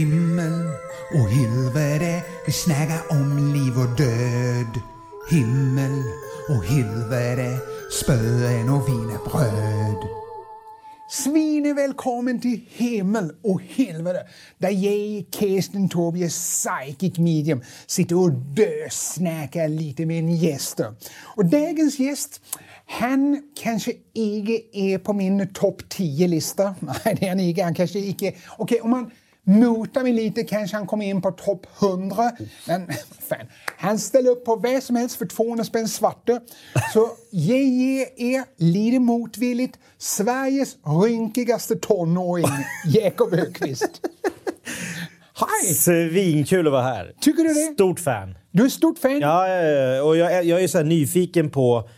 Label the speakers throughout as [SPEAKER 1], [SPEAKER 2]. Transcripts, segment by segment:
[SPEAKER 1] Himmel och helvete, vi snäga om liv och död. Himmel och helvete, spöen och vinerbröd.
[SPEAKER 2] Svin är välkommen till himmel och helvete där jag, Kirsten Tobias psychic medium sitter och dösnackar lite med en gäst. Och dagens gäst, han kanske inte är på min topp 10-lista. Nej, det är han inte. Han kanske inte... Okej, om man motar mig lite kanske han kommer in på topp 100. Men fan, han ställer upp på vad som helst för 200 spänn svarte. Så JJ är lite motvilligt Sveriges rynkigaste tonåring, Jakob Högqvist. Hej!
[SPEAKER 3] Svinkul att vara här.
[SPEAKER 2] Tycker du det?
[SPEAKER 3] Stort fan.
[SPEAKER 2] Du är ett stort fan.
[SPEAKER 3] Ja, ja, ja. och jag är, jag är så här nyfiken på...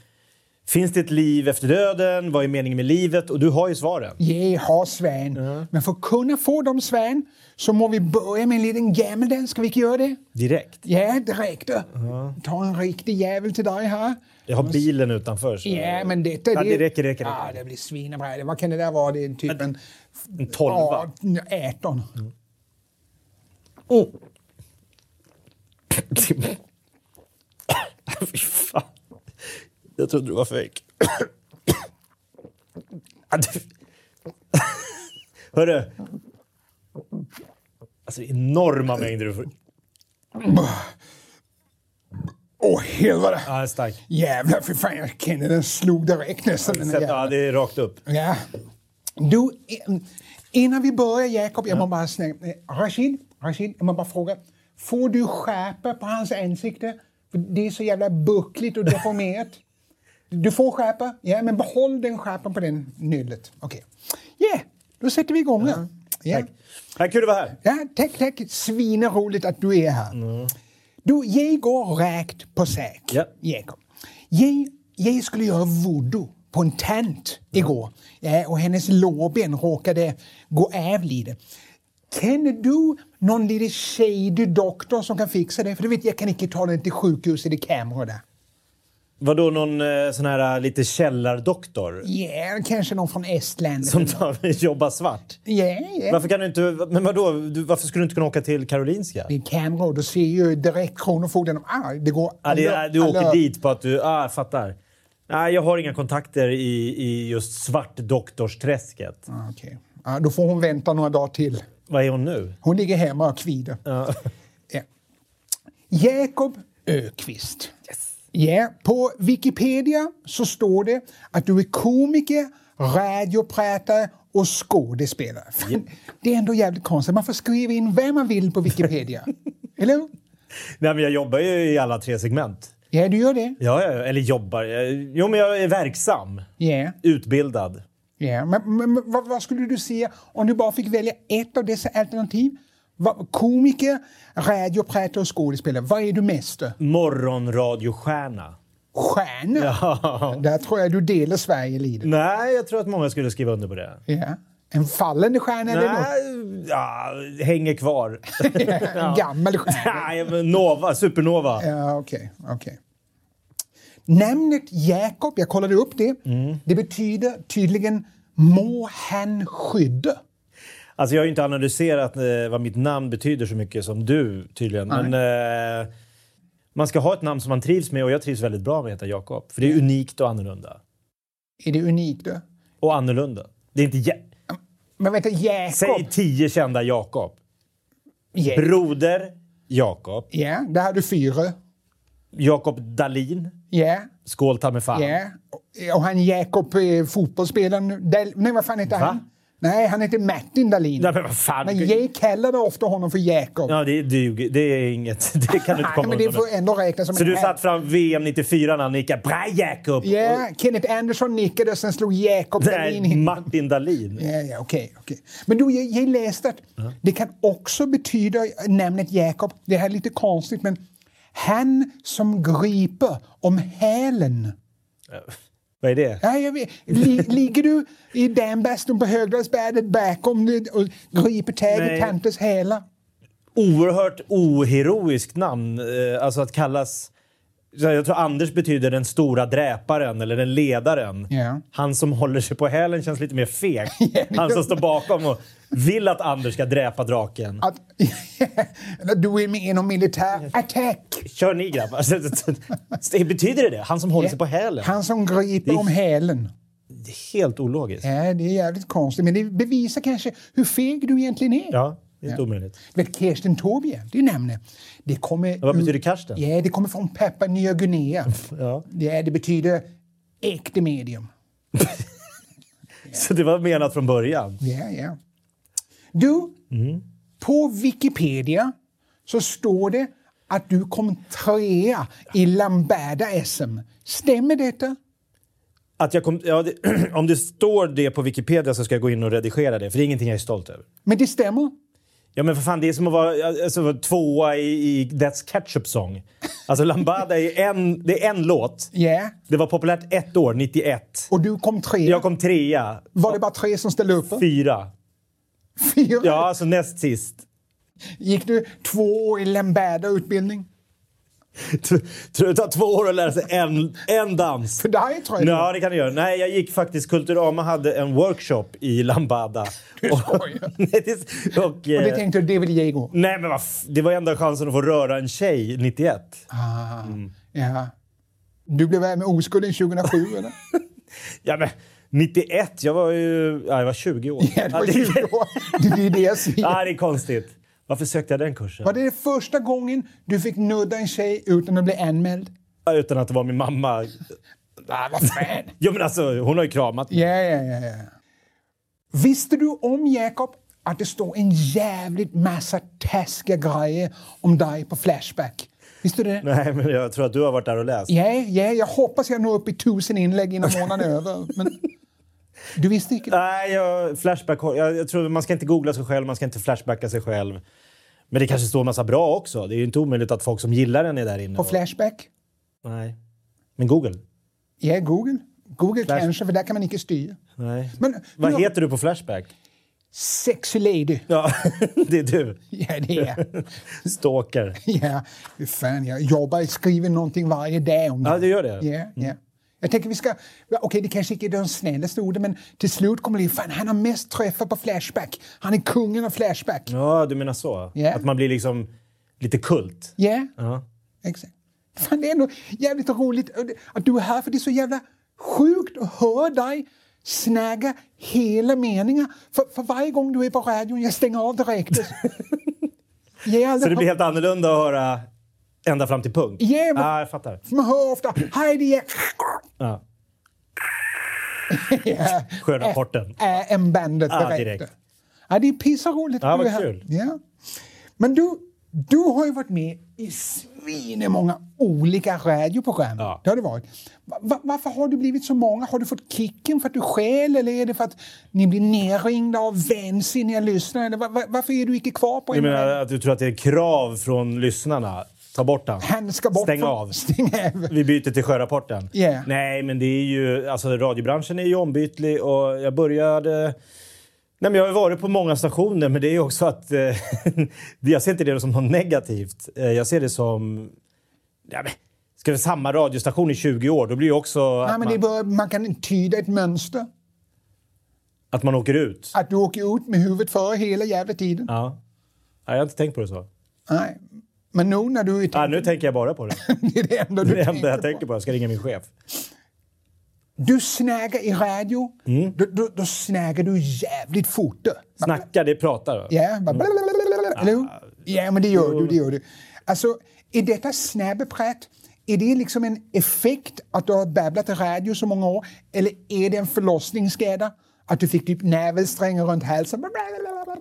[SPEAKER 3] Finns det ett liv efter döden? Vad är meningen med livet? Och du har ju svaren.
[SPEAKER 2] Ge har Sven. Men för att kunna få dem Sven så må vi börja med en liten gammeldansk. Ska vi inte göra det?
[SPEAKER 3] Direkt.
[SPEAKER 2] Ja, direkt. Ta en riktig jävel till dig här.
[SPEAKER 3] Jag har bilen utanför. Så
[SPEAKER 2] Ja, men detta...
[SPEAKER 3] Ja, det räcker, det räcker, det
[SPEAKER 2] Ja,
[SPEAKER 3] räcker.
[SPEAKER 2] det blir svinbra. Det- Vad kan det där vara? Det är typ en...
[SPEAKER 3] En tolva.
[SPEAKER 2] Ja, 18.
[SPEAKER 3] Oh. Fy fan. Jag trodde du var fejk. Ja, det- Hörru. Alltså det är enorma mängder du får.
[SPEAKER 2] Åh, helvete!
[SPEAKER 3] Ja, stark.
[SPEAKER 2] Jävlar, för fan. Jag känner den slog direkt nästan. Den
[SPEAKER 3] Sätt,
[SPEAKER 2] jäveln.
[SPEAKER 3] ja, det är rakt upp.
[SPEAKER 2] Ja. Du, eh, innan vi börjar, Jakob, jag måste bara snälla. eh, Rashid, Rashid, jag måste bara fråga. Får du skärpa på hans ansikte? För det är så jävla buckligt och deformerat. Du får skärpa, ja, men behåll den skärpan på den nyllet. Okej. Yeah, då sätter vi igång. Ja. Ja.
[SPEAKER 3] Tack. Ja, kul att vara här.
[SPEAKER 2] Ja, tack, tack. Svinroligt att du är här. Du, jag går rakt på sak,
[SPEAKER 3] Mm. Ja.
[SPEAKER 2] Jakob. Jag, jag skulle göra voodoo på en tant igår ja, och hennes lårben råkade gå av lite. Känner du någon liten shady doktor som kan fixa det? För du vet, jag kan inte ta den till sjukhuset i Camera där.
[SPEAKER 3] Vadå, någon eh, sån här eh, lite källardoktor
[SPEAKER 2] Yeah, kanske någon från Estland.
[SPEAKER 3] som tar, jobbar svart?
[SPEAKER 2] Yeah, yeah.
[SPEAKER 3] Varför kan du inte... Men vadå, du, varför skulle du inte kunna åka till Karolinska?
[SPEAKER 2] Det är Camera och då ser ju direkt Kronofogden... Ah, det går...
[SPEAKER 3] Ja, det, är- du åker
[SPEAKER 2] alert.
[SPEAKER 3] dit på att du... Ah, jag fattar. Nej, jag har inga kontakter i, i just svartdoktorsträsket.
[SPEAKER 2] Ah, Okej. Ja, då får hon vänta några dagar till.
[SPEAKER 3] Vad är hon nu?
[SPEAKER 2] Hon ligger hemma och kvider.
[SPEAKER 3] Ja.
[SPEAKER 2] Ja. Jakob Ökvist. Ja, på Wikipedia så står det att du är komiker, radiopratare och skådespelare. Fan, Det är ändå jävligt konstigt. Man får skriva in vem man vill på Wikipedia. Eller hur?
[SPEAKER 3] Nej, men jag jobbar ju i alla tre segment.
[SPEAKER 2] Ja, du gör det.
[SPEAKER 3] Ja, ja, ja, eller jobbar... Jag- Jo, men jag är verksam.
[SPEAKER 2] Ja.
[SPEAKER 3] Utbildad.
[SPEAKER 2] ja. Men, men, men vad, vad skulle du säga om du bara fick välja ett av dessa alternativ? Vad- Komiker, radiopratare och skådespelare. Vad är du mest?
[SPEAKER 3] Morgonradiostjärna.
[SPEAKER 2] Stjärna?
[SPEAKER 3] Ja.
[SPEAKER 2] Där tror jag du delar Sverige lite.
[SPEAKER 3] Nej, jag tror att många skulle skriva under på det.
[SPEAKER 2] Ja. En fallande stjärna eller något?
[SPEAKER 3] Mm. Nej, ja, hänger kvar.
[SPEAKER 2] En gammal stjärna?
[SPEAKER 3] Nej, men Nova, supernova.
[SPEAKER 2] Ja, okej. okej. Namnet Jakob, jag kollade upp det,
[SPEAKER 3] Mm.
[SPEAKER 2] det betyder tydligen må han skydda.
[SPEAKER 3] Alltså jag har ju inte analyserat eh, vad mitt namn betyder så mycket som du tydligen. Men eh, man ska ha ett namn som man trivs med och jag trivs väldigt bra med att heta Jakob. För det är unikt och annorlunda.
[SPEAKER 2] Är det unikt då?
[SPEAKER 3] Och annorlunda. Det är inte... jä-
[SPEAKER 2] Men vänta, Jakob?
[SPEAKER 3] Säg tio kända Jakob.
[SPEAKER 2] Ja.
[SPEAKER 3] Broder Jakob.
[SPEAKER 2] Ja, där har du fyra.
[SPEAKER 3] Jakob Dalin.
[SPEAKER 2] Ja,
[SPEAKER 3] Skål ta mig fan.
[SPEAKER 2] ja. Och- Och han Jakob, eh, fotbollsspelaren, Dal- nej vad fan heter
[SPEAKER 3] Va?
[SPEAKER 2] han? Nej, han heter Martin Dahlin.
[SPEAKER 3] Nej, men vad fan.
[SPEAKER 2] Men jag kallade ofta honom för Jakob.
[SPEAKER 3] Ja, det, det, det är inget... Det kan du inte
[SPEAKER 2] Nej,
[SPEAKER 3] komma
[SPEAKER 2] men det
[SPEAKER 3] undan
[SPEAKER 2] får
[SPEAKER 3] med.
[SPEAKER 2] ändå räknas som
[SPEAKER 3] Så
[SPEAKER 2] en
[SPEAKER 3] du
[SPEAKER 2] hat.
[SPEAKER 3] satt fram VM 94 när han nickade “Bra Jakob!”
[SPEAKER 2] Ja, Kenneth Andersson nickade och sen slog Jakob Dahlin
[SPEAKER 3] Nej,
[SPEAKER 2] in.
[SPEAKER 3] Martin Dalin.
[SPEAKER 2] Ja, ja, okej. okej. Men du, jag, jag läste att det kan också betyda namnet Jakob. Det här är lite konstigt, men han som griper om hälen.
[SPEAKER 3] Vad är det?
[SPEAKER 2] Ja, jag vet. Li, ligger du i dambastun på Högdalsbadet bakom det och griper tag i
[SPEAKER 3] Nej.
[SPEAKER 2] tantens hälar?
[SPEAKER 3] oerhört oheroiskt namn. eh, Alltså att kallas Så jag tror Anders betyder den stora dräparen eller den ledaren.
[SPEAKER 2] Ja.
[SPEAKER 3] Han som håller sig på hälen känns lite mer feg. Han som står bakom och vill att Anders ska dräpa draken.
[SPEAKER 2] Att, du är med i någon militär attack.
[SPEAKER 3] Kör ni grabbar! Så- så- så- Betyder det det? Han som håller sig Alltså på hälen?
[SPEAKER 2] Han som griper om hälen.
[SPEAKER 3] Det är helt ologiskt.
[SPEAKER 2] Ja, det är jävligt konstigt, men det bevisar kanske hur feg du egentligen är.
[SPEAKER 3] Ja, det är inte omöjligt.
[SPEAKER 2] Du vet, Kirsten Tobie, det är namnet. Det kommer
[SPEAKER 3] Vad
[SPEAKER 2] ur-
[SPEAKER 3] betyder Karsten?
[SPEAKER 2] Mm. Ja, det kommer från Papua Nya Guinea.
[SPEAKER 3] Ja.
[SPEAKER 2] Ja, det betyder äkte medium.
[SPEAKER 3] Så det var menat från början.
[SPEAKER 2] Ja, ja. Du,
[SPEAKER 3] Mm.
[SPEAKER 2] på Wikipedia så står det att du kom trea i Lambada-SM. Stämmer detta?
[SPEAKER 3] Att jag kom, ja, det, om det står det på Wikipedia så ska jag gå in och redigera det, för det är ingenting jag är stolt över.
[SPEAKER 2] Men det stämmer.
[SPEAKER 3] Ja, men för fan, det är som att vara alltså, vara tvåa i, i That's Ketchup Song. Alltså, Lambada är en, det är en låt.
[SPEAKER 2] Ja,
[SPEAKER 3] Det var populärt ett år, 91.
[SPEAKER 2] och du kom trea.
[SPEAKER 3] Jag kom trea,
[SPEAKER 2] Var det bara tre som ställde upp?
[SPEAKER 3] fyra.
[SPEAKER 2] Fyra?
[SPEAKER 3] Ja, alltså näst sist.
[SPEAKER 2] Gick du två år i Lambada-utbildning?
[SPEAKER 3] Tror du det tar två år att lära sig en, en dans?
[SPEAKER 2] För dig tror jag det
[SPEAKER 3] Ja, det kan du göra. Nej, jag gick faktiskt... Kulturama hade en workshop i Lambada. Du
[SPEAKER 2] skojar.
[SPEAKER 3] Nej, det, och, och
[SPEAKER 2] Och det
[SPEAKER 3] eh,
[SPEAKER 2] tänkte du, det vill jag gå.
[SPEAKER 3] nej, men vad f- det var enda chansen att få röra en tjej 91.
[SPEAKER 2] Ah,
[SPEAKER 3] Mm.
[SPEAKER 2] ja. Du blev av med oskulden 2007, eller?
[SPEAKER 3] Ja, men 91? Jag var ju... Ja, jag var 20 år.
[SPEAKER 2] Ja, det var
[SPEAKER 3] det-
[SPEAKER 2] 20 år. Det är det jag säger.
[SPEAKER 3] Ja, det är konstigt. Varför sökte jag den kursen?
[SPEAKER 2] Var det, det första gången du fick nudda en tjej utan att bli anmäld?
[SPEAKER 3] Ja, Utan att det var min mamma.
[SPEAKER 2] Ah, vad fan!
[SPEAKER 3] Jo, men alltså, hon har ju kramat mig.
[SPEAKER 2] Ja, ja, ja, ja. Visste du om, Jakob, att det står en jävligt massa taskiga grejer om dig på Flashback? Visste du det?
[SPEAKER 3] Nej, men jag tror att du har varit där och läst.
[SPEAKER 2] Ja, ja, jag hoppas jag når upp i tusen inlägg innan månaden är över. Men du visste inte? det?
[SPEAKER 3] Nej, jag, flashback, jag, jag tror man ska inte googla sig själv, man ska inte flashbacka sig själv. Men det kanske står en massa bra också. Det är ju inte omöjligt att folk som gillar den är där inne.
[SPEAKER 2] På
[SPEAKER 3] och-
[SPEAKER 2] Flashback?
[SPEAKER 3] Nej. Men Google?
[SPEAKER 2] Ja, Google. Google
[SPEAKER 3] Flash-
[SPEAKER 2] kanske, för där kan man inte styra.
[SPEAKER 3] Nej.
[SPEAKER 2] Men
[SPEAKER 3] Vad
[SPEAKER 2] nu-
[SPEAKER 3] heter du på Flashback?
[SPEAKER 2] Sexy lady.
[SPEAKER 3] Ja, det är du.
[SPEAKER 2] Ja, det är
[SPEAKER 3] Stalker.
[SPEAKER 2] Ja, fy fan, jag jobbar, skriver någonting varje dag om det.
[SPEAKER 3] Ja, Mm. du gör det?
[SPEAKER 2] Ja, ja. Jag tänker vi ska... ja, Okej, det kanske inte är de snällaste orden, men till slut kommer det ju, fan, han har mest träffar på Flashback. Han är kungen av Flashback.
[SPEAKER 3] Ja, du menar så?
[SPEAKER 2] Ja.
[SPEAKER 3] Att man blir liksom lite kult?
[SPEAKER 2] Ja,
[SPEAKER 3] Ja.
[SPEAKER 2] exakt. Fan, det är ändå jävligt roligt att du är här, för det är så jävla sjukt att höra dig snäga hela meningar. För, för varje gång du är på radion, jag stänger av direkt. Jag är aldrig
[SPEAKER 3] Så det blir
[SPEAKER 2] på-
[SPEAKER 3] helt annorlunda att höra ända fram till punkt?
[SPEAKER 2] Ja, men-
[SPEAKER 3] ah, jag fattar.
[SPEAKER 2] Man hör ofta Heidi är
[SPEAKER 3] Ja.
[SPEAKER 2] Ja.
[SPEAKER 3] Sjörapporten.
[SPEAKER 2] Äh, en bandet
[SPEAKER 3] Ja,
[SPEAKER 2] direkt.
[SPEAKER 3] Ah, direkt.
[SPEAKER 2] Ja, det är pissroligt.
[SPEAKER 3] Ja,
[SPEAKER 2] att du
[SPEAKER 3] vad
[SPEAKER 2] är här.
[SPEAKER 3] kul.
[SPEAKER 2] Ja. Men du, du har ju varit med i svinemånga olika radioprogram.
[SPEAKER 3] Ja.
[SPEAKER 2] Det har du varit. Va- va- varför har du blivit så många? Har du fått kicken för att du skäl eller är det för att ni blir nerringda av vansinniga lyssnare? Eller va- va- varför är du inte kvar på
[SPEAKER 3] Du
[SPEAKER 2] en
[SPEAKER 3] menar att du tror att det är krav från lyssnarna? Ta bort den.
[SPEAKER 2] Han ska bort
[SPEAKER 3] Stäng
[SPEAKER 2] från-
[SPEAKER 3] av.
[SPEAKER 2] Stäng av.
[SPEAKER 3] Vi byter till sjörapporten.
[SPEAKER 2] Ja.
[SPEAKER 3] Nej, men det är ju... Alltså, radiobranschen är ju ombytlig och jag började... Nej, men jag har ju varit på många stationer, men det är ju också att... Eh, jag ser inte det som något negativt. Eh, Jag ser det som... Ja, men, ska vi samma radiostation i 20 år, då blir ju också
[SPEAKER 2] Ja,
[SPEAKER 3] att,
[SPEAKER 2] men
[SPEAKER 3] man,
[SPEAKER 2] det bör, man kan tyda ett mönster.
[SPEAKER 3] att man åker ut.
[SPEAKER 2] Att du åker ut med huvudet före hela jävla tiden.
[SPEAKER 3] Ja. Nej, jag har inte tänkt på det så.
[SPEAKER 2] Nej. Men nu när du är
[SPEAKER 3] Ja, nu tänker jag bara på det.
[SPEAKER 2] det är det enda du
[SPEAKER 3] Det är det enda
[SPEAKER 2] tänker
[SPEAKER 3] jag
[SPEAKER 2] på.
[SPEAKER 3] tänker på. Jag ska ringa min chef.
[SPEAKER 2] Du snäger i radio,
[SPEAKER 3] Mm.
[SPEAKER 2] då, då, då snäger du jävligt fort. då.
[SPEAKER 3] Snacka, det är prata. Då.
[SPEAKER 2] Ja, bara blablabla, eller
[SPEAKER 3] Ah.
[SPEAKER 2] hur? Ja, men det gör du. Det gör du. Alltså, är detta snabbeprätt, är det liksom en effekt att du har babblat i radio så många år? Eller är det en förlossningsskada? Att du fick typ nävelsträngar runt halsen?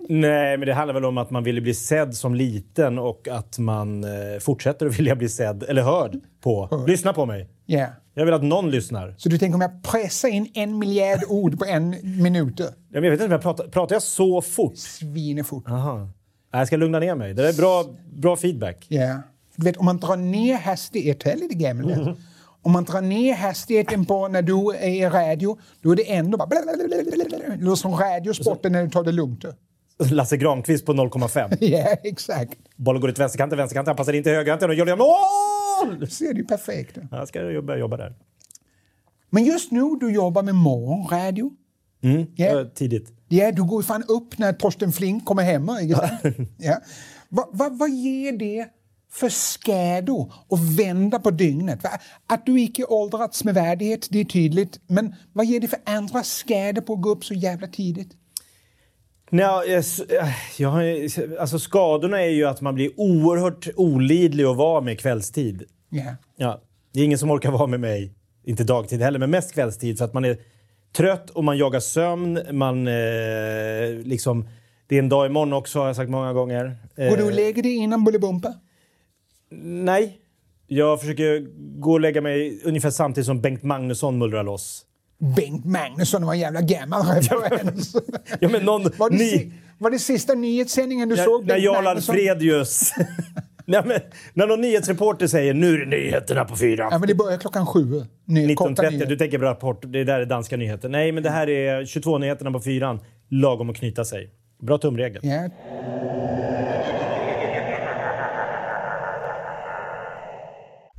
[SPEAKER 3] Nej, men det handlar väl om att man ville bli sedd som liten och att man eh, fortsätter att vilja bli sedd, eller hörd, på. Lyssna på mig.
[SPEAKER 2] Ja.
[SPEAKER 3] Jag vill att någon lyssnar.
[SPEAKER 2] Så du tänker om jag pressar in en miljard ord på en minut?
[SPEAKER 3] Ja, men Jag vet inte om jag pratar, pratar jag så fort?
[SPEAKER 2] Svinefort.
[SPEAKER 3] Aha. Nej, Jag ska lugna ner mig. Det där är bra, bra feedback.
[SPEAKER 2] Ja. Du vet, om man drar ner hastigheten, det är lite gammal.
[SPEAKER 3] Mhm.
[SPEAKER 2] Om man drar ner hastigheten på när du är i radio, då är det ändå bara... blablabla. Det låter som radiosporten när du tar det lugnt.
[SPEAKER 3] Lasse Granqvist på 0,5.
[SPEAKER 2] Ja, exakt.
[SPEAKER 3] Bollen går ut vänsterkanten, vänsterkanten. Han passar inte högerkanten och gör det. Åh! roll!
[SPEAKER 2] Så är det ju perfekt.
[SPEAKER 3] Jag ska ju börja jobba där.
[SPEAKER 2] Men just nu, du jobbar med morgonradio.
[SPEAKER 3] Mm.
[SPEAKER 2] Ja.
[SPEAKER 3] eh, Tidigt.
[SPEAKER 2] Ja, du går ju fan upp när Torsten Flink kommer hem. Ikke sant? ja. va, va, vad ger det för skador att vända på dygnet? Va? Att du inte åldrats med värdighet, det är tydligt. Men vad ger det för andra skador på att gå upp så jävla tidigt?
[SPEAKER 3] Nej, jag, eh, jag, har- alltså skadorna är ju att man blir oerhört olidlig att vara med kvällstid.
[SPEAKER 2] Ja.
[SPEAKER 3] Ja. Det är ingen som orkar vara med mig, inte dagtid heller, men mest kvällstid för att man är trött och man jagar sömn. Man eh, liksom... Det är en dag imorgon också har jag sagt många gånger. Eh,
[SPEAKER 2] Går du och lägger dig innan Bullybumpa?
[SPEAKER 3] Nej. Jag försöker gå och lägga mig ungefär samtidigt som Bengt Magnusson mullrar loss.
[SPEAKER 2] Bengt Magnusson var en jävla gammal referens.
[SPEAKER 3] Ja, men någon,
[SPEAKER 2] var, det
[SPEAKER 3] ni-
[SPEAKER 2] si- var det sista nyhetssändningen du såg?
[SPEAKER 3] när
[SPEAKER 2] Bengt
[SPEAKER 3] Jarl
[SPEAKER 2] Magnusson?
[SPEAKER 3] Alfredius... Nej, men, när någon nyhetsreporter säger nu är det nyheterna på fyra.
[SPEAKER 2] Ja, men det börjar klockan sju. Ny, korta
[SPEAKER 3] 19.30,
[SPEAKER 2] nyheter.
[SPEAKER 3] du tänker på Rapport, det där är danska nyheter. Nej, men det här är 22-nyheterna på fyran. Lagom att knyta sig. Bra tumregel.
[SPEAKER 2] Ja.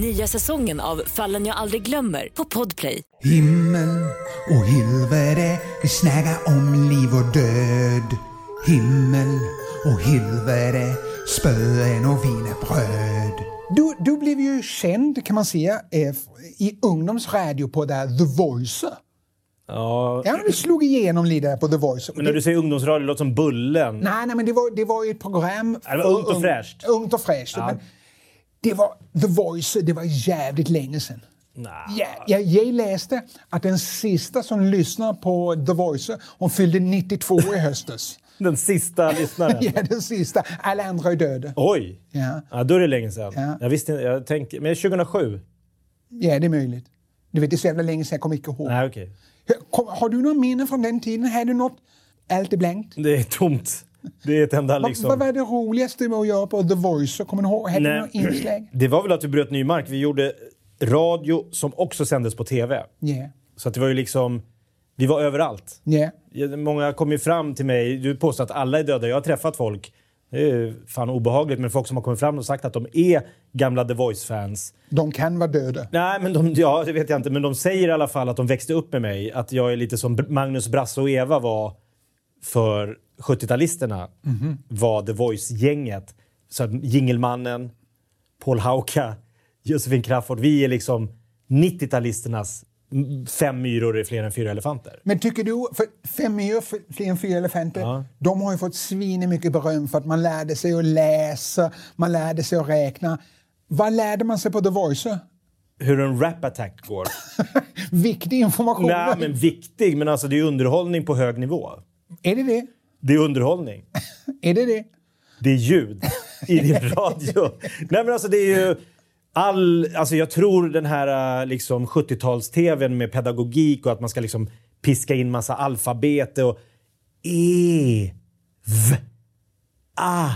[SPEAKER 4] Nya säsongen av Fallen jag aldrig glömmer på Podplay.
[SPEAKER 1] Himmel och helvete, vi snackar om liv och död. Himmel och helvete, spöen och wienerbröd.
[SPEAKER 2] Du, du blev ju känd, kan man säga, eh, f- i ungdomsradio på det här The Voice.
[SPEAKER 3] Ja.
[SPEAKER 2] Ja, du slog igenom lite där på The Voice.
[SPEAKER 3] Men när du säger ungdomsradio, det låter som Bullen.
[SPEAKER 2] Nej, nej, men det var, det var ju ett program...
[SPEAKER 3] Ja, det var
[SPEAKER 2] för
[SPEAKER 3] ungt och
[SPEAKER 2] ung-
[SPEAKER 3] fräscht.
[SPEAKER 2] Ungt och fräscht. Men det var The Voice, det var jävligt länge sedan.
[SPEAKER 3] Nja.
[SPEAKER 2] Ja, jag, jag läste att den sista som lyssnar på The Voice, hon fyllde 92 i höstes.
[SPEAKER 3] Den sista lyssnaren.
[SPEAKER 2] ja, den sista. Alla andra är döda.
[SPEAKER 3] Oj!
[SPEAKER 2] Ja.
[SPEAKER 3] Ja, då är det länge sedan.
[SPEAKER 2] Ja.
[SPEAKER 3] Jag visste inte, jag tänkte, men 2007?
[SPEAKER 2] ja, det är möjligt. Du vet, det är så jävla länge sedan jag kommer inte ihåg.
[SPEAKER 3] Nej, okej.
[SPEAKER 2] Kom- Har du några minnen från den tiden? Har du något? Allt är blankt.
[SPEAKER 3] Det är tomt. Det är ett enda
[SPEAKER 2] Va-
[SPEAKER 3] liksom...
[SPEAKER 2] Vad var det roligaste med att göra på The Voice? Kommer du ihåg? Hade du
[SPEAKER 3] Nej.
[SPEAKER 2] några inslag?
[SPEAKER 3] Det var väl att vi bröt ny mark. Vi gjorde radio som också sändes på tv.
[SPEAKER 2] Ja.
[SPEAKER 3] Så att det var ju liksom... Vi var överallt.
[SPEAKER 2] ja.
[SPEAKER 3] Ja, Många kom ju fram till mig. Du påstår att alla är döda. Jag har träffat folk. Det är ju fan obehagligt. Men folk som har kommit fram och sagt att de är gamla The Voice-fans.
[SPEAKER 2] De kan vara döda.
[SPEAKER 3] Nej, men de, ja, det vet jag inte. Men de säger i alla fall att de växte upp med mig. Att jag är lite som Br- Magnus, Brasse och Eva var för 70-talisterna. Var The Voice-gänget. Så att Jingelmannen, Paul Hauka, Josefin Crafoord. Vi är liksom 90-talisternas m- fem myror är fler än fyra elefanter.
[SPEAKER 2] Men tycker du, för fem myror, för- fler än fyra elefanter, de har ju fått svin mycket beröm för att man lärde sig att läsa, man lärde sig att räkna. Vad lärde man sig på The Voice?
[SPEAKER 3] Hur en rap-attack går.
[SPEAKER 2] Viktig information.
[SPEAKER 3] Nej, men viktig. Men alltså, det är underhållning på hög nivå.
[SPEAKER 2] Är det det?
[SPEAKER 3] Det är underhållning.
[SPEAKER 2] Är det det?
[SPEAKER 3] det är ljud i din radio. Nej, men alltså det är ju all... Alltså jag tror den här eh, liksom 70-tals-tvn med pedagogik och att man ska liksom piska in massa alfabet och... E... V... A...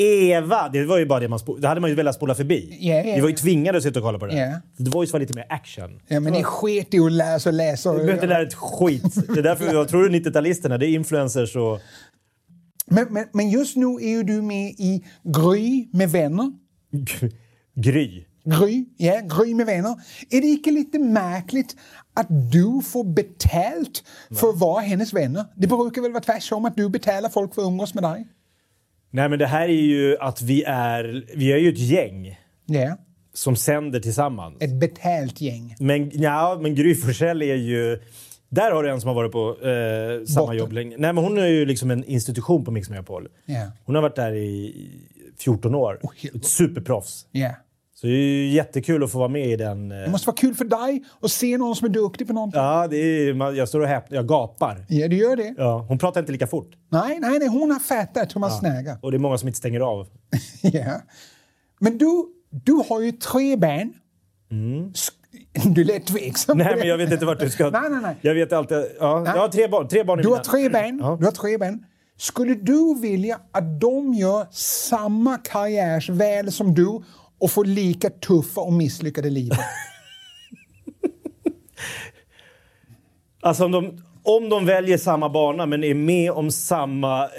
[SPEAKER 3] Eva! Det var ju bara det man spo- Det hade man ju velat spola förbi.
[SPEAKER 2] Ja, ja,
[SPEAKER 3] Vi var ju
[SPEAKER 2] ja.
[SPEAKER 3] tvingade att sitta och kolla på det.
[SPEAKER 2] Ja.
[SPEAKER 3] The Voice var lite mer action.
[SPEAKER 2] Ja, men ni sket i att läsa och läsa.
[SPEAKER 3] Du behöver inte lära dig ett skit. Det är därför jag tror du 90-talisterna, det är influencers och...
[SPEAKER 2] Men, men, men just nu är ju du med i Gry med vänner.
[SPEAKER 3] Gry.
[SPEAKER 2] Gry, ja, Gry med vänner. Är det inte lite märkligt att du får betalt för att vara hennes vänner? Det brukar väl vara tvärtom, att du betalar folk för att umgås med dig?
[SPEAKER 3] Nej, men det här är ju att vi är... Vi är ju ett gäng
[SPEAKER 2] Ja,
[SPEAKER 3] som sänder tillsammans.
[SPEAKER 2] ett betalt gäng.
[SPEAKER 3] Men, ja, men Gry Forssell är ju... Där har du en som har varit på eh, samma
[SPEAKER 2] Botten.
[SPEAKER 3] jobb länge. Nej, men hon är ju liksom en institution på Mix Megapol.
[SPEAKER 2] Ja.
[SPEAKER 3] Hon har varit där i 14 år.
[SPEAKER 2] helvete.
[SPEAKER 3] Ett superproffs.
[SPEAKER 2] Ja.
[SPEAKER 3] Så det är ju jättekul att få vara med i den.
[SPEAKER 2] Det
[SPEAKER 3] Eh,
[SPEAKER 2] måste vara kul för dig att se någon som är duktig på någonting.
[SPEAKER 3] ja, det är, man, jag står och häpnar. Jag gapar.
[SPEAKER 2] Ja, du gör det.
[SPEAKER 3] Ja, hon pratar inte lika fort.
[SPEAKER 2] Nej, nej, nej, hon har fattat hur man snägar.
[SPEAKER 3] Och det är många som inte stänger av.
[SPEAKER 2] Ja. Men du, du har ju tre barn. Sk- Du lät tveksam.
[SPEAKER 3] Mm. Nej, men jag vet inte vart du ska.
[SPEAKER 2] Nej, nej, nej.
[SPEAKER 3] Jag vet alltid... Ja,
[SPEAKER 2] Nej.
[SPEAKER 3] jag har tre barn, tre barn i
[SPEAKER 2] Du har
[SPEAKER 3] mina...
[SPEAKER 2] tre ben.
[SPEAKER 3] Ja.
[SPEAKER 2] Du har tre ben. Skulle du vilja att de gör samma karriärsväl som du och får lika tuffa och misslyckade liv?
[SPEAKER 3] Alltså om de, om de väljer samma bana men är med om samma eh,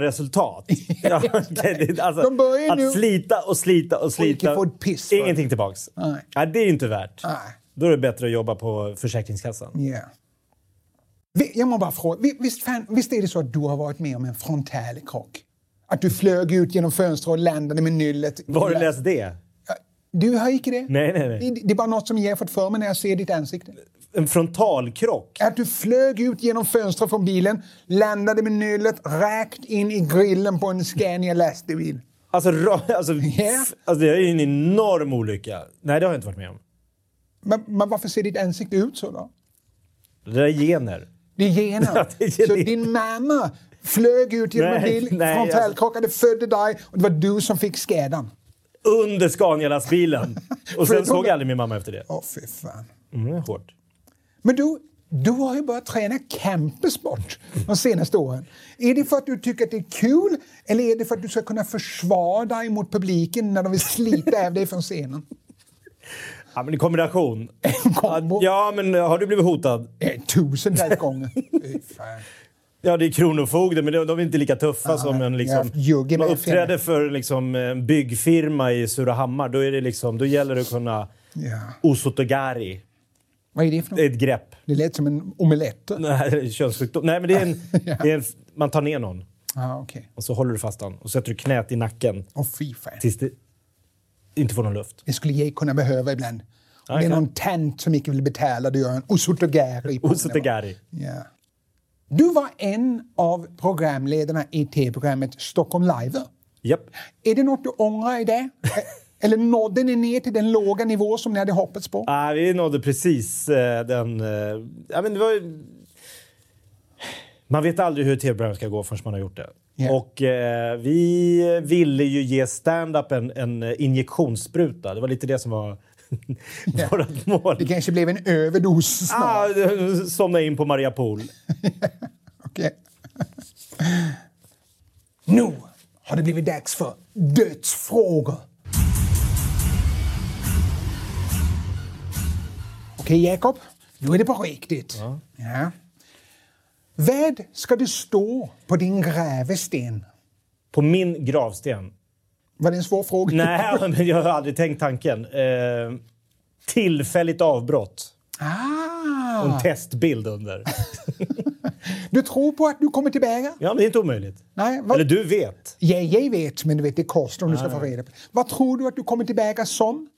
[SPEAKER 3] resultat. ja, okej, det- alltså,
[SPEAKER 2] De börjar
[SPEAKER 3] att
[SPEAKER 2] nu.
[SPEAKER 3] slita och slita och slita.
[SPEAKER 2] inte få ett piss för det.
[SPEAKER 3] Ingenting tillbaks.
[SPEAKER 2] Nej.
[SPEAKER 3] det är ju inte värt.
[SPEAKER 2] Nej.
[SPEAKER 3] Då är det bättre att jobba på Försäkringskassan.
[SPEAKER 2] Ja. Vi- Jag må bara fråga, vi- visst, fan, visst är det så att du har varit med om en frontalkrock? Att du flög ut genom fönstret och landade med nyllet?
[SPEAKER 3] Var har du läst det?
[SPEAKER 2] Du har inte det?
[SPEAKER 3] Nej, nej, nej.
[SPEAKER 2] Det- Det är bara något som jag har fått för mig när jag ser ditt ansikte.
[SPEAKER 3] En frontalkrock?
[SPEAKER 2] Att du flög ut genom fönstret från bilen, landade med nyllet rakt in i grillen på en Scania lastbil.
[SPEAKER 3] Alltså, ra- alltså,
[SPEAKER 2] Ja.
[SPEAKER 3] alltså, det är ju en enorm olycka. Nej, det har jag inte varit med om.
[SPEAKER 2] Men, men varför ser ditt ansikte ut så då?
[SPEAKER 3] Det där är gener.
[SPEAKER 2] Det är gener.
[SPEAKER 3] Ja, det är gener.
[SPEAKER 2] Så din mamma flög ut genom en
[SPEAKER 3] Nej,
[SPEAKER 2] bil,
[SPEAKER 3] nej, alltså.
[SPEAKER 2] frontalkrockade, födde dig och det var du som fick skadan.
[SPEAKER 3] Under Scania-lastbilen! Och sen
[SPEAKER 2] Förutom-
[SPEAKER 3] såg jag aldrig min mamma efter det.
[SPEAKER 2] Åh, fy fan.
[SPEAKER 3] Mm, det är hårt.
[SPEAKER 2] Men du, du har ju börjat träna campesport de senaste åren. Är det för att du tycker att det är kul eller är det för att du ska kunna försvara dig mot publiken när de vill slita av dig från scenen?
[SPEAKER 3] Ja, men i kombination.
[SPEAKER 2] Kombo.
[SPEAKER 3] Ja, men har du blivit hotad?
[SPEAKER 2] Eh, Tusentals gånger. Fy fan.
[SPEAKER 3] Ja, det är Kronofogden, men de de är inte lika tuffa som en
[SPEAKER 2] Ah, jag har
[SPEAKER 3] liksom...
[SPEAKER 2] haft jugge med
[SPEAKER 3] man
[SPEAKER 2] fel.
[SPEAKER 3] uppträder för liksom, en byggfirma i Surahammar, då, är det liksom, då gäller det att kunna...
[SPEAKER 2] Ja.
[SPEAKER 3] Osotogari.
[SPEAKER 2] Vad är det för
[SPEAKER 3] Det är
[SPEAKER 2] något?
[SPEAKER 3] ett grepp.
[SPEAKER 2] Det lät som en omelett.
[SPEAKER 3] Nej, Könssjukdom. Nej, men det är en,
[SPEAKER 2] Ja.
[SPEAKER 3] det är en, man tar ner någon
[SPEAKER 2] Ah, okej.
[SPEAKER 3] och så håller du fast honom och sätter du knät i nacken
[SPEAKER 2] Åh, fy fan.
[SPEAKER 3] tills det inte får någon luft.
[SPEAKER 2] Det skulle jag kunna behöva ibland. Om
[SPEAKER 3] Okej.
[SPEAKER 2] det är någon tent som inte vill betala, då gör jag en osotogari. på den.
[SPEAKER 3] Osotogari.
[SPEAKER 2] Ja. Du var en av programledarna i tv-programmet Stockholm Live.
[SPEAKER 3] Japp.
[SPEAKER 2] Är det något du ångrar i det? Eller nådde ni ner till den låga nivå som ni hade hoppats på?
[SPEAKER 3] Ah, vi nådde precis eh, den... Eh, ja, men det var ju... Man vet aldrig hur ett tv-program ska gå förrän man har gjort det.
[SPEAKER 2] Ja.
[SPEAKER 3] Och eh, vi ville ju ge stand-up en, en injektionsspruta. Det var lite det som var vårt mål.
[SPEAKER 2] Det kanske blev en överdos snart.
[SPEAKER 3] Ah, somna in på Maria Pool.
[SPEAKER 2] Okej. nu har det blivit dags för dödsfrågor. Okej, Jakob. Nu är det på riktigt. Ja. Vad ska det stå på din grävesten?
[SPEAKER 3] På min gravsten.
[SPEAKER 2] Var det en svår fråga?
[SPEAKER 3] Nej, men jag har aldrig tänkt tanken. Eh, tillfälligt avbrott.
[SPEAKER 2] Ah,
[SPEAKER 3] Och en testbild under.
[SPEAKER 2] du tror på att du kommer tillbaka?
[SPEAKER 3] Ja, men det är inte omöjligt.
[SPEAKER 2] Nej, vad-
[SPEAKER 3] Eller du vet.
[SPEAKER 2] Ja, jag vet, men du vet, det kostar om du ska få reda på. Vad tror du att du kommer tillbaka som?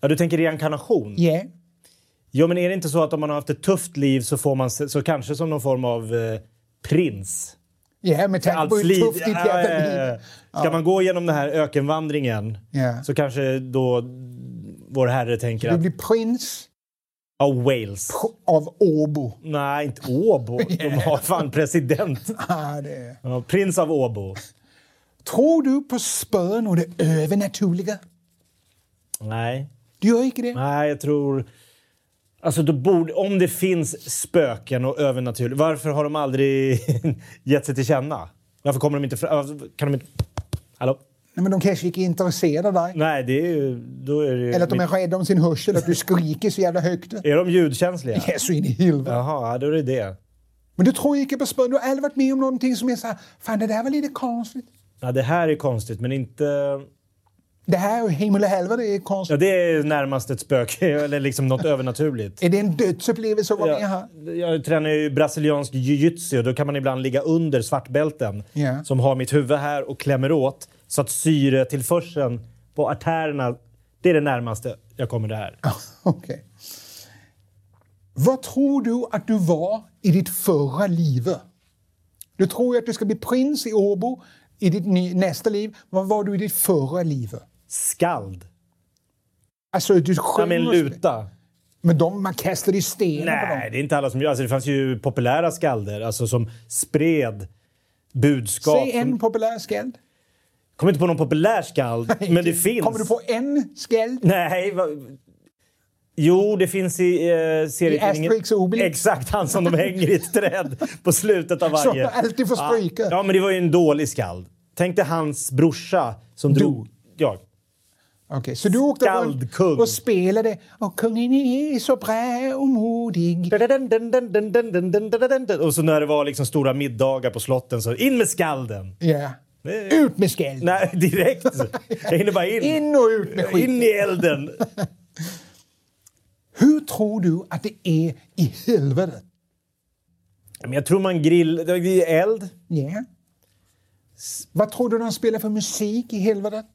[SPEAKER 3] Ja, du tänker reinkarnation?
[SPEAKER 2] Ja.
[SPEAKER 3] Jo, men är det inte så att om man har haft ett tufft liv så får man se- så kanske som någon form av eh, prins?
[SPEAKER 2] Ja, med tanke på
[SPEAKER 3] Allt
[SPEAKER 2] hur
[SPEAKER 3] slit...
[SPEAKER 2] tufft ditt jävla
[SPEAKER 3] Ja, ja,
[SPEAKER 2] liv
[SPEAKER 3] ja.
[SPEAKER 2] är.
[SPEAKER 3] Ska man gå genom den här ökenvandringen
[SPEAKER 2] Ja.
[SPEAKER 3] så kanske då vår herre tänker
[SPEAKER 2] Du
[SPEAKER 3] att...
[SPEAKER 2] blir prins
[SPEAKER 3] Ja, Wales.
[SPEAKER 2] av Åbo.
[SPEAKER 3] Nej, inte Åbo. De har fan president.
[SPEAKER 2] Ah, det är.
[SPEAKER 3] Ja, prins av Åbo.
[SPEAKER 2] Tror du på spön och det övernaturliga?
[SPEAKER 3] Nej.
[SPEAKER 2] Du gör inte det?
[SPEAKER 3] Nej, jag tror... Alltså, då borde, om det finns spöken och övernaturligt, varför har de aldrig gett sig till känna? Varför kommer de inte fram? Alltså, Kan de inte... Hallå?
[SPEAKER 2] Nej, men de kanske inte är intresserade av dig.
[SPEAKER 3] Nej, det är ju... Då är det ju
[SPEAKER 2] Eller att de är
[SPEAKER 3] mitt-
[SPEAKER 2] rädda om sin hörsel, att du skriker så jävla högt.
[SPEAKER 3] är de ljudkänsliga?
[SPEAKER 2] Ja, så in i helvete.
[SPEAKER 3] Jaha, ja, då är det det.
[SPEAKER 2] Men du tror inte på spön. Du har aldrig varit med om någonting som är så här, fan det där var lite konstigt.
[SPEAKER 3] Ja, det här är konstigt, men inte...
[SPEAKER 2] Det här är himmel och helvete, det är konstigt.
[SPEAKER 3] Ja, det är närmast ett spöke, eller liksom något övernaturligt.
[SPEAKER 2] Är det en dödsupplevelse att vara med här?
[SPEAKER 3] Jag, jag tränar ju brasiliansk jiu-jitsu och då kan man ibland ligga under svartbälten
[SPEAKER 2] Ja.
[SPEAKER 3] som har mitt huvud här och klämmer åt så att syretillförseln på artärerna, det är det närmaste jag kommer det här.
[SPEAKER 2] Okej. Vad tror du att du var i ditt förra liv? Du tror ju att du ska bli prins i Åbo i ditt ny, nästa liv. Vad var du i ditt förra liv?
[SPEAKER 3] Skald.
[SPEAKER 2] Alltså, du
[SPEAKER 3] Ja, med
[SPEAKER 2] sjöng
[SPEAKER 3] en
[SPEAKER 2] och-
[SPEAKER 3] luta.
[SPEAKER 2] Men de, man kastade ju stenar på
[SPEAKER 3] Nej,
[SPEAKER 2] dem.
[SPEAKER 3] det är inte alla som gör. Alltså, det fanns ju populära skalder alltså, som spred budskap.
[SPEAKER 2] Säg en populär skald.
[SPEAKER 3] Kom inte på någon populär skald, men det finns.
[SPEAKER 2] Kommer du på en skald?
[SPEAKER 3] Nej, vad- Jo, det finns i eh, serietidningen...
[SPEAKER 2] Asterix och Obelix.
[SPEAKER 3] Exakt, han som de hänger i ett träd på slutet av
[SPEAKER 2] Som
[SPEAKER 3] varje...
[SPEAKER 2] alltid får stryka.
[SPEAKER 3] Ja, ja, men det var ju en dålig skald. Tänk dig hans brorsa som drog... Ja.
[SPEAKER 2] Okej, så du åkte runt
[SPEAKER 3] Skaldkung.
[SPEAKER 2] och spelade och kungen är så bra och modig.
[SPEAKER 3] Och så när det var liksom stora middagar på slotten så in med skalden!
[SPEAKER 2] Ja.
[SPEAKER 3] Det-
[SPEAKER 2] Ut med skälden!
[SPEAKER 3] Nej, direkt. Jag hinner bara in.
[SPEAKER 2] In och ut med skiten.
[SPEAKER 3] In i elden.
[SPEAKER 2] Hur tror du att det är i helvetet?
[SPEAKER 3] Men jag tror man grill... Det är eld.
[SPEAKER 2] Ja. Vad tror du de spelar för musik i helvetet?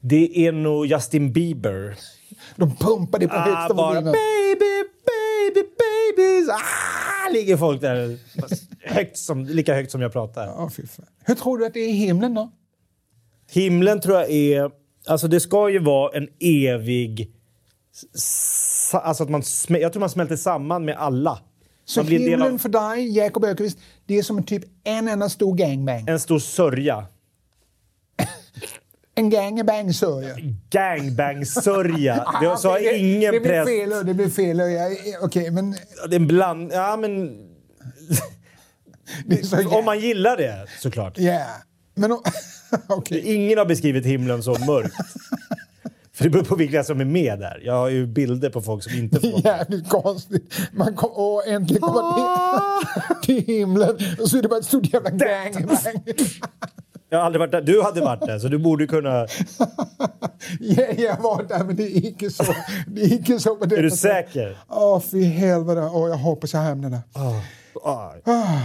[SPEAKER 3] Det är nog Justin Bieber.
[SPEAKER 2] De pumpar det på
[SPEAKER 3] Ah,
[SPEAKER 2] högsta
[SPEAKER 3] bara
[SPEAKER 2] volymen.
[SPEAKER 3] baby, baby, babies. Ah, ligger folk där. Fast Högt som, lika högt som jag pratar.
[SPEAKER 2] Ja, fy fan. Hur tror du att det är i himlen då?
[SPEAKER 3] Himlen tror jag är... Alltså det ska ju vara en evig... s- Alltså att man, smä- jag tror man smälter samman med alla.
[SPEAKER 2] Så
[SPEAKER 3] man blir en del
[SPEAKER 2] himlen
[SPEAKER 3] av
[SPEAKER 2] för dig, Jakob Ökvist, det är som en typ en enda stor gangbang.
[SPEAKER 3] en stor sörja.
[SPEAKER 2] En gangbang, sa jag.
[SPEAKER 3] Gangbang-sörja.
[SPEAKER 2] Ah,
[SPEAKER 3] Det sa
[SPEAKER 2] okej,
[SPEAKER 3] ingen
[SPEAKER 2] det, det blir
[SPEAKER 3] präst.
[SPEAKER 2] fel, och det blir fel. och jag- Okej, men...
[SPEAKER 3] Det är en bland... Ja, men...
[SPEAKER 2] Det är så
[SPEAKER 3] Alltså, Om man gillar det, såklart.
[SPEAKER 2] Ja. Men om- okej.
[SPEAKER 3] Ingen har beskrivit himlen så mörkt. För det beror på vilka som är med där. Jag har ju bilder på folk som inte får vara med.
[SPEAKER 2] Jävligt konstigt. Man kom, åh, äntligen kom man
[SPEAKER 3] Ah!
[SPEAKER 2] till, till himlen och så är det bara ett stort jävla gangbang.
[SPEAKER 3] Jag har aldrig varit där. Du hade varit där, så du borde kunna...
[SPEAKER 2] Ja, jag var där, men det gick ju så. Det gick ju så på det
[SPEAKER 3] Är du
[SPEAKER 2] sättet.
[SPEAKER 3] säker?
[SPEAKER 2] Åh, fy helvete. Åh, jag hoppas jag hamnar där.
[SPEAKER 3] Ah.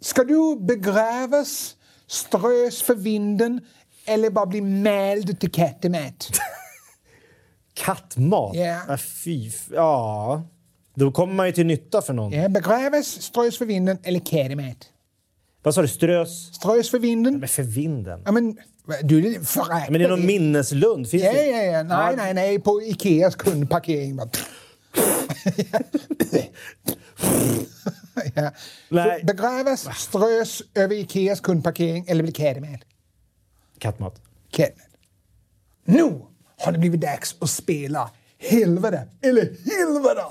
[SPEAKER 2] Ska du begravas, strös för vinden eller bara bli mäld till kattemat?
[SPEAKER 3] Kattmat?
[SPEAKER 2] Ja.
[SPEAKER 3] Ah, fy... f- Ja. Då kommer man ju till nytta för någon.
[SPEAKER 2] Ja, begravas, strös för vinden eller kattemat?
[SPEAKER 3] Vad sa du? Strös?
[SPEAKER 2] Strös för vinden?
[SPEAKER 3] Men för vinden?
[SPEAKER 2] Ja, men, du, det föraktar
[SPEAKER 3] Men det är någon minneslund? Finns
[SPEAKER 2] Ja,
[SPEAKER 3] det?
[SPEAKER 2] ja, ja. Nej, nej, nej. På Ikeas kundparkering. Bara. ja.
[SPEAKER 3] Nej.
[SPEAKER 2] Så Begravas, strös över Ikeas kundparkering eller bli caddyman.
[SPEAKER 3] Kattmat.
[SPEAKER 2] Caddyman. Nu har det blivit dags att spela helvete eller helvete.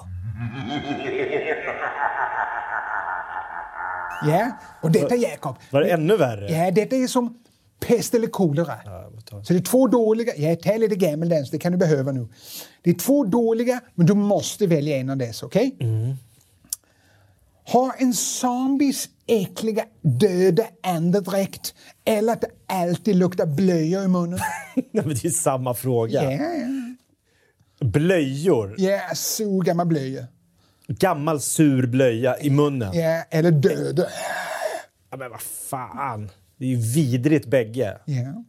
[SPEAKER 2] Ja, och detta Jakob.
[SPEAKER 3] Var det ännu värre?
[SPEAKER 2] Ja, detta är som pest eller kolera. Så det är två dåliga... Ja, ta lite gammeldans, det kan du behöva nu. Det är två dåliga, men du måste välja en av dessa, okej? Har en zombies äckliga döda andedräkt eller att det alltid luktar blöjor i munnen?
[SPEAKER 3] Nej, men det är samma fråga.
[SPEAKER 2] Ja, ja.
[SPEAKER 3] Blöjor?
[SPEAKER 2] Ja, så gammal blöja.
[SPEAKER 3] Gammal sur blöja i munnen?
[SPEAKER 2] Ja, eller döda.
[SPEAKER 3] Ja, men vad fan! Det är ju vidrigt bägge.
[SPEAKER 2] Ja,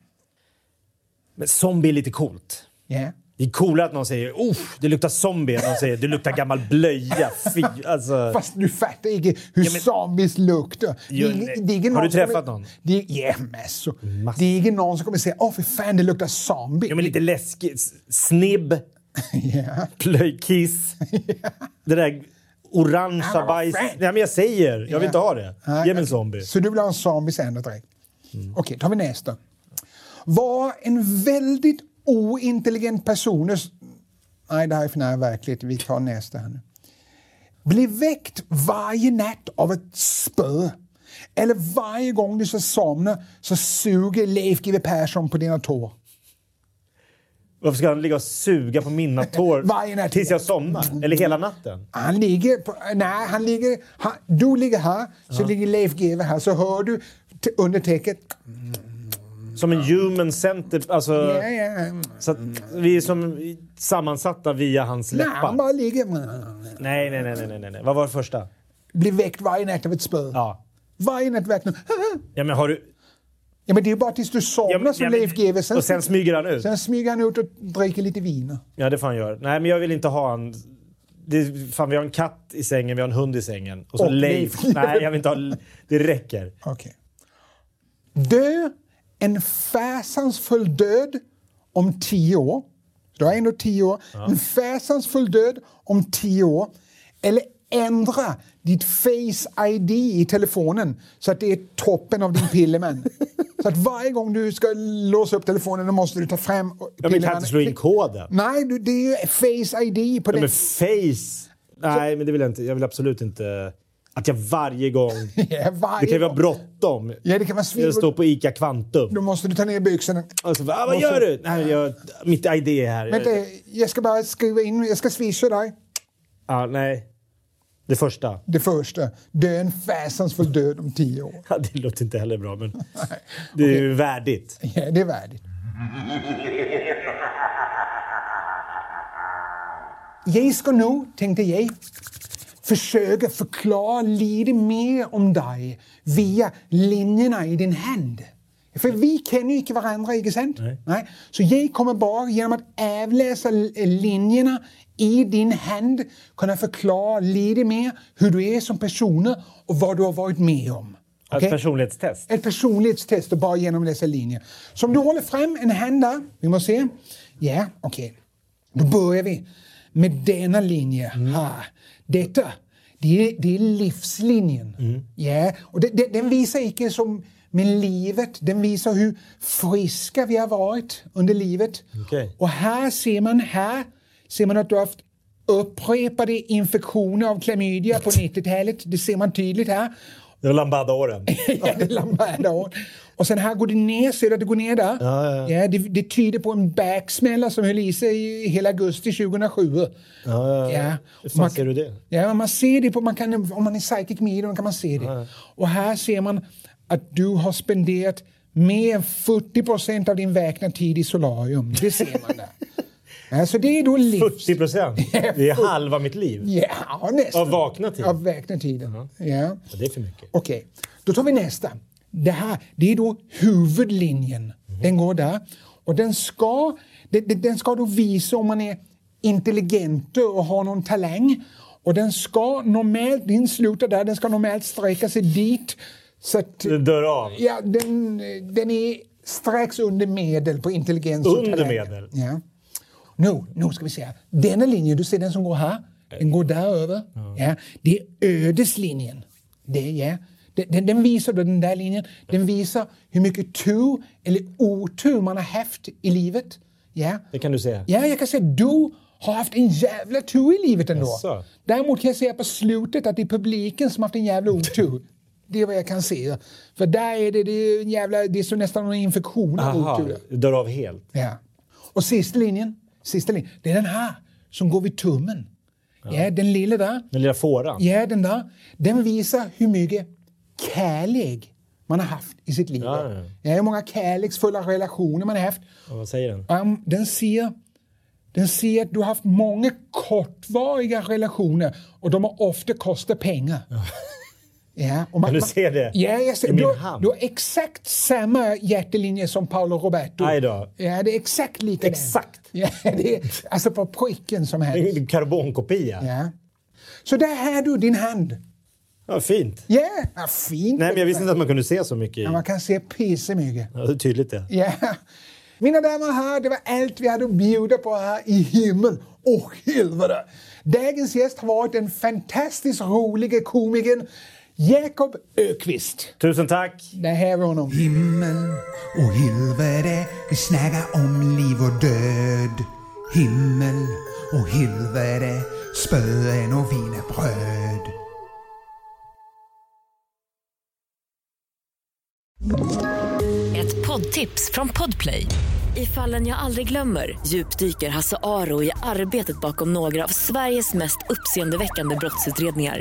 [SPEAKER 3] Men zombie är lite coolt.
[SPEAKER 2] ja.
[SPEAKER 3] Det är coolare att någon säger uff, det luktar zombie än att någon säger det luktar gammal blöja. Fy, alltså.
[SPEAKER 2] Fast du fattar inte hur zombies luktar. Det är
[SPEAKER 3] Jo,
[SPEAKER 2] ingen-
[SPEAKER 3] nej.
[SPEAKER 2] det är ingen
[SPEAKER 3] Har du
[SPEAKER 2] som kommer-
[SPEAKER 3] träffat någon?
[SPEAKER 2] Det är, ja, massor. Det är ingen någon som kommer säga åh för fan det luktar zombie.
[SPEAKER 3] Ja, men lite läskigt. S- Snibb,
[SPEAKER 2] Ja.
[SPEAKER 3] plöjkiss, det där orangea
[SPEAKER 2] vad
[SPEAKER 3] bajs.
[SPEAKER 2] fan.
[SPEAKER 3] Nej, men jag säger, jag vill inte ha det. Ge mig en zombie. Mm.
[SPEAKER 2] Så du vill ha en zombies andedräkt? Okej, tar vi nästa. Var en väldigt ointelligent person... Nej, det här är för nära verkligt. Vi tar nästa här nu. Bli väckt varje natt av ett spö. Eller varje gång du ska somna så suger Leif GW Persson på dina tår.
[SPEAKER 3] Varför ska han ligga och suga på mina tår
[SPEAKER 2] Varje natt.
[SPEAKER 3] tills jag somnar? Eller hela natten?
[SPEAKER 2] Han ligger... På, nej, han ligger... Han, du ligger här, så ligger Leif GW här. Så hör du t- under täcket...
[SPEAKER 3] Som en human center... Alltså,
[SPEAKER 2] Ja, ja.
[SPEAKER 3] Så att vi är som sammansatta via hans
[SPEAKER 2] Nej,
[SPEAKER 3] läppar.
[SPEAKER 2] han bara ligger...
[SPEAKER 3] Nej, nej, nej, nej, nej, nej. Vad var det första?
[SPEAKER 2] blir väckt varje natt av ett spö.
[SPEAKER 3] Ja.
[SPEAKER 2] Varje natt vaknar
[SPEAKER 3] Ja, men har du...
[SPEAKER 2] Ja, men det är ju bara tills du
[SPEAKER 3] Ja,
[SPEAKER 2] somnar
[SPEAKER 3] men-
[SPEAKER 2] som
[SPEAKER 3] ja, men-
[SPEAKER 2] Leif GW. Sen,
[SPEAKER 3] Och sen smyger han ut?
[SPEAKER 2] sen smyger han ut och dricker lite vin.
[SPEAKER 3] Ja, det får han göra. Nej, men jag vill inte ha en... Det, fan, vi har en katt i sängen, vi har en hund i sängen. Och så
[SPEAKER 2] Och
[SPEAKER 3] Leif.
[SPEAKER 2] Leif.
[SPEAKER 3] Nej, jag vill inte ha... Det räcker.
[SPEAKER 2] Okej. Dö en fasansfull död om tio år. Så Du har ändå tio år. En fasansfull död om tio år. Eller ändra ditt face ID i telefonen så att det är toppen av din pillerman. Så att varje gång du ska låsa upp telefonen då måste du ta fram och-
[SPEAKER 3] Ja, men kan inte slå in koden.
[SPEAKER 2] Nej, du, det är ju Face ID på
[SPEAKER 3] Ja,
[SPEAKER 2] den.
[SPEAKER 3] men face! Nej, men det vill jag inte. Jag vill absolut inte att jag varje gång...
[SPEAKER 2] Ja, varje
[SPEAKER 3] Det kan ju vara
[SPEAKER 2] gång.
[SPEAKER 3] bråttom.
[SPEAKER 2] Ja, det kan vara
[SPEAKER 3] Jag
[SPEAKER 2] svin.
[SPEAKER 3] står på Ica Kvantum.
[SPEAKER 2] Då måste du ta ner byxorna.
[SPEAKER 3] Och så, bara, ah, vad gör du? Nej, jag, mitt ID är här.
[SPEAKER 2] Vänta, jag ska bara skriva in, jag ska swisha dig.
[SPEAKER 3] Ja, nej. Det första.
[SPEAKER 2] Det första, dö en fasansfull död om tio år.
[SPEAKER 3] Ja, det låter inte heller bra, men det är ju värdigt.
[SPEAKER 2] Ja, det är värdigt. Jag ska nu, tänkte jag, försöka förklara lite mer om dig via linjerna i din hand. För vi känner ju inte varandra, inte sant?
[SPEAKER 3] Nej.
[SPEAKER 2] Så jag kommer bara genom att avläsa l- linjerna i din hand kunna förklara lite mer hur du är som person och vad du har varit med om.
[SPEAKER 3] Ett
[SPEAKER 2] Okej?
[SPEAKER 3] personlighetstest.
[SPEAKER 2] Ett personlighetstest och bara genom dessa linjer. Så om du håller fram en hand där, vi måste se. Ja, okej. Då börjar vi med denna linje. Här. Detta, det är, det är livslinjen. Ja, och det, det, den visar icke som med livet, den visar hur friska vi har varit under livet.
[SPEAKER 3] Okej.
[SPEAKER 2] Och här ser man, här ser man att du har haft upprepade infektioner av klamydia på 90-talet. Det ser man tydligt här.
[SPEAKER 3] Det var Lambada-åren.
[SPEAKER 2] Ja, det är Lambada år. Och sen här går det ner, ser du att det går ner där?
[SPEAKER 3] Ja, ja,
[SPEAKER 2] det, det tyder på en backsmälla som höll i sig i hela augusti 2007. Ja,
[SPEAKER 3] ja, ja. Hur fan ser du det?
[SPEAKER 2] Ja, men man ser det på, man kan, om man är psychic medium kan man se det. Och här ser man att du har spenderat mer än 40 procent av din vakna tid i solarium. Det ser man där. ja, så det är då livs...
[SPEAKER 3] 40 procent. Det är halva mitt liv.
[SPEAKER 2] Ja, nästan.
[SPEAKER 3] Av vakna tid.
[SPEAKER 2] Av vakna tiden. Ja.
[SPEAKER 3] Ja, Det är för mycket.
[SPEAKER 2] Okej, då tar vi nästa. Det här det är då huvudlinjen. Den går där. Och den ska, den, den- den ska då visa om man är intelligent och har någon talang. Och den ska normalt, din slutar där, den ska normalt sträcka sig dit. Så att,
[SPEAKER 3] Det dör av.
[SPEAKER 2] ja, den, den är strax under medel på intelligens och
[SPEAKER 3] Under
[SPEAKER 2] talang.
[SPEAKER 3] medel?
[SPEAKER 2] Ja. Nu, nu ska vi se. här. Denna linje, du ser den som går här. Den går där över. Ja. Det är ödeslinjen. Det, ja. den, den, den visar då den där linjen. Den visar hur mycket tur eller otur man har haft i livet. Ja.
[SPEAKER 3] Det kan du säga.
[SPEAKER 2] Ja, jag kan säga att du har haft en jävla tur i livet ändå.
[SPEAKER 3] Jaså?
[SPEAKER 2] Däremot kan jag säga på slutet att det är publiken som har haft en jävla otur. Det är vad jag kan se. För där är det, det är en jävla, det är så nästan en infektion av
[SPEAKER 3] Aha,
[SPEAKER 2] otur.
[SPEAKER 3] det dör av helt.
[SPEAKER 2] Ja. Och sista linjen, sista linjen, det är den här som går vid tummen. Ja, den lilla där.
[SPEAKER 3] Den lilla fåran.
[SPEAKER 2] Ja, den där. Den visar hur mycket kärlek man har haft i sitt liv.
[SPEAKER 3] Ja, ja.
[SPEAKER 2] Ja, hur många kärleksfulla relationer man har haft.
[SPEAKER 3] Ja, Vad säger den?
[SPEAKER 2] Um, den ser den ser att du har haft många kortvariga relationer och de har ofta kostat pengar. Ja, och man,
[SPEAKER 3] Kan du se det?
[SPEAKER 2] Ja, jag ser,
[SPEAKER 3] I min
[SPEAKER 2] du,
[SPEAKER 3] hand?
[SPEAKER 2] du har exakt samma hjärtelinje som Paolo Roberto.
[SPEAKER 3] Aj då.
[SPEAKER 2] Ja, det är exakt likadan.
[SPEAKER 3] Exakt.
[SPEAKER 2] Ja, det är, alltså på pricken som
[SPEAKER 3] Det
[SPEAKER 2] helst.
[SPEAKER 3] är en karbonkopia.
[SPEAKER 2] Ja. Så där har du din hand.
[SPEAKER 3] Ja, fint.
[SPEAKER 2] Ja, ja fint.
[SPEAKER 3] Nej, men jag visste inte att man kunde se så mycket i.
[SPEAKER 2] Ja, man kan se pissemycket.
[SPEAKER 3] Ja, det är tydligt det.
[SPEAKER 2] Ja. Mina damer och herrar, det var allt vi hade att bjuda på här i himmel och helvete. Dagens gäst har varit den fantastiskt rolige komikern Jakob Ökvist.
[SPEAKER 3] Tusen tack!
[SPEAKER 2] Där har vi honom.
[SPEAKER 1] Himmel och helvete, vi snackar om liv och död. Himmel och helvete, spöen och wienerbröd.
[SPEAKER 4] Ett poddtips från Podplay. I fallen jag aldrig glömmer djupdyker Hasse Aro i arbetet bakom några av Sveriges mest uppseendeväckande brottsutredningar.